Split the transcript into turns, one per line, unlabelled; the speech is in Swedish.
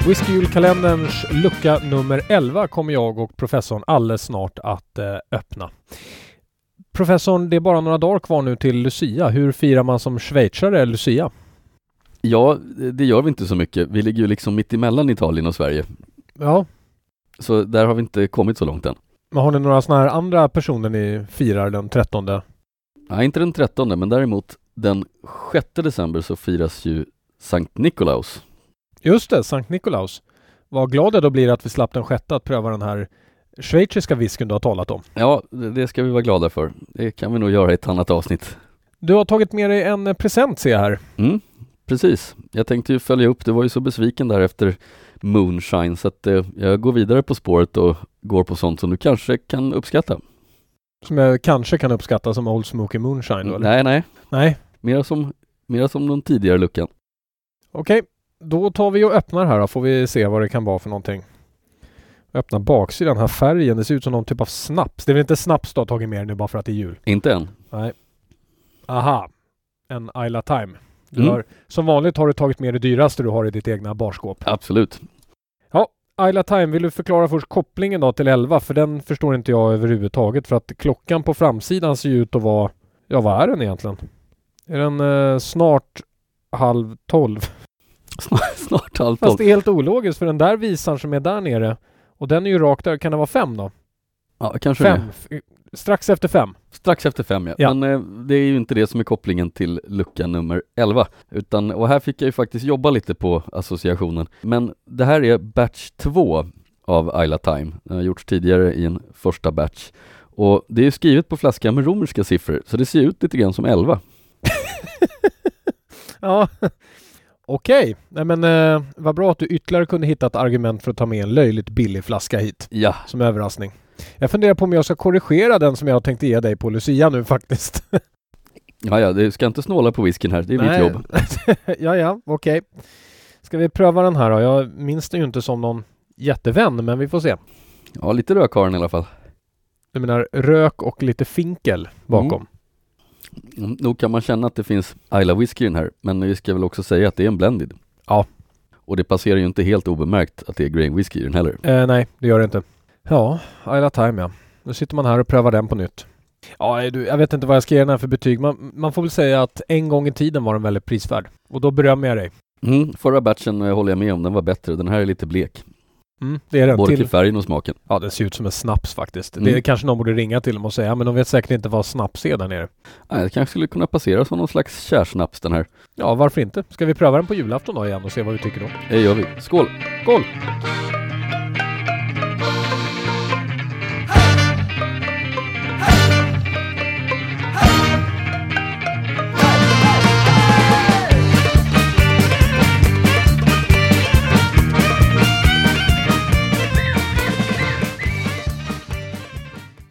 Whiskyjulkalenderns lucka nummer 11 kommer jag och professorn alldeles snart att eh, öppna. Professorn, det är bara några dagar kvar nu till Lucia. Hur firar man som schweizare Lucia?
Ja, det gör vi inte så mycket. Vi ligger ju liksom mitt emellan Italien och Sverige.
Ja,
Så där har vi inte kommit så långt än.
men har ni några sådana här andra personer ni firar den 13?
Nej, inte den 13, men däremot den 6 december så firas ju Sankt Nikolaus.
Just det, Sankt Nikolaus. Vad glad jag då blir att vi slapp den sjätte att pröva den här schweiziska whiskyn du har talat om.
Ja, det det ska vi vara glada för. Det kan vi nog göra i ett annat avsnitt.
Du har tagit med dig en eh, present ser jag här.
Mm, precis. Jag tänkte ju följa upp, du var ju så besviken där efter Moonshine, så att eh, jag går vidare på spåret och går på sånt som du kanske kan uppskatta.
Som jag kanske kan uppskatta som Old Smoky Moonshine då, eller?
Nej, nej,
Mm, Nej.
mera som, mera som den tidigare luckan.
Okej, då tar vi och öppnar här då får vi se vad det kan vara för någonting. Öppna baksidan här, färgen. Det ser ut som någon typ av snaps. Det är väl inte snaps du har tagit med dig nu bara för att det är jul?
Inte än.
Aha, en Isla Time. Du
Mm.
har, som vanligt har du tagit med det dyraste du har i ditt egna barskåp.
Absolut.
Isla Time, vill du förklara först kopplingen då till 11? För den förstår inte jag överhuvudtaget för att klockan på framsidan ser ju ut att vara... Ja, vad är den egentligen? Är den eh, snart halv tolv?
Snart halv tolv.
Fast det är helt ologiskt för den där visaren som är där nere och den är ju rakt där. Kan det vara fem då?
Ja, kanske
Fem.
det.
F- Strax efter fem.
Strax efter fem ja.
Ja.
Men eh, det är ju inte det som är kopplingen till lucka nummer 11. Utan, och här fick jag ju faktiskt jobba lite på associationen. Men det här är batch 2 av Isla Time. Den har gjorts tidigare i en första batch. Och det är skrivet på flaskan med romerska siffror, så det ser ut lite grann som 11.
Ja. Okej. Nej men eh, vad bra att du ytterligare kunde hitta ett argument för att ta med en löjligt billig flaska hit.
Ja,
Som överraskning. Jag funderar på om jag ska korrigera den som jag tänkte ge dig på Lucia nu faktiskt.
ja, ja du ska inte snåla på whiskyn här, det är
Nej.
mitt jobb.
ja, ja, okej. Ska vi pröva den här då? Jag minns den ju inte som någon jättevän, men vi får se.
Ja, lite rök har den i alla fall.
Du menar rök och lite finkel bakom.
Mm, Nog kan man känna att det finns Isla Whisky i den här, men vi ska väl också säga att det är en blended.
Ja.
Och det passerar ju inte helt obemärkt att det är grain whisky i den heller.
Eh, nej, det gör det inte. Ja, Isla Time ja. Nu sitter man här och prövar den på nytt. Ja, nej, du, jag vet inte vad jag ska ge den här för betyg. Man, man får väl säga att en gång i tiden var den väldigt prisvärd. Och då berömmer jag dig.
Mm, förra batchen eh, håller jag med om, den var bättre. Den här är lite blek.
Mm, det är den.
Både till
Till,
färgen och smaken.
ja, den ser ut som en snaps faktiskt. Det är,
Mm.
kanske någon borde ringa till dem och säga, "Ja, men de vet säkert inte vad snaps är där nere.
Nej, det kanske skulle kunna passera som någon slags kärsnaps den här.
Ja, varför inte? Ska vi pröva den på julafton då igen och se vad vi tycker då?
Det gör vi. Skål!
Skål!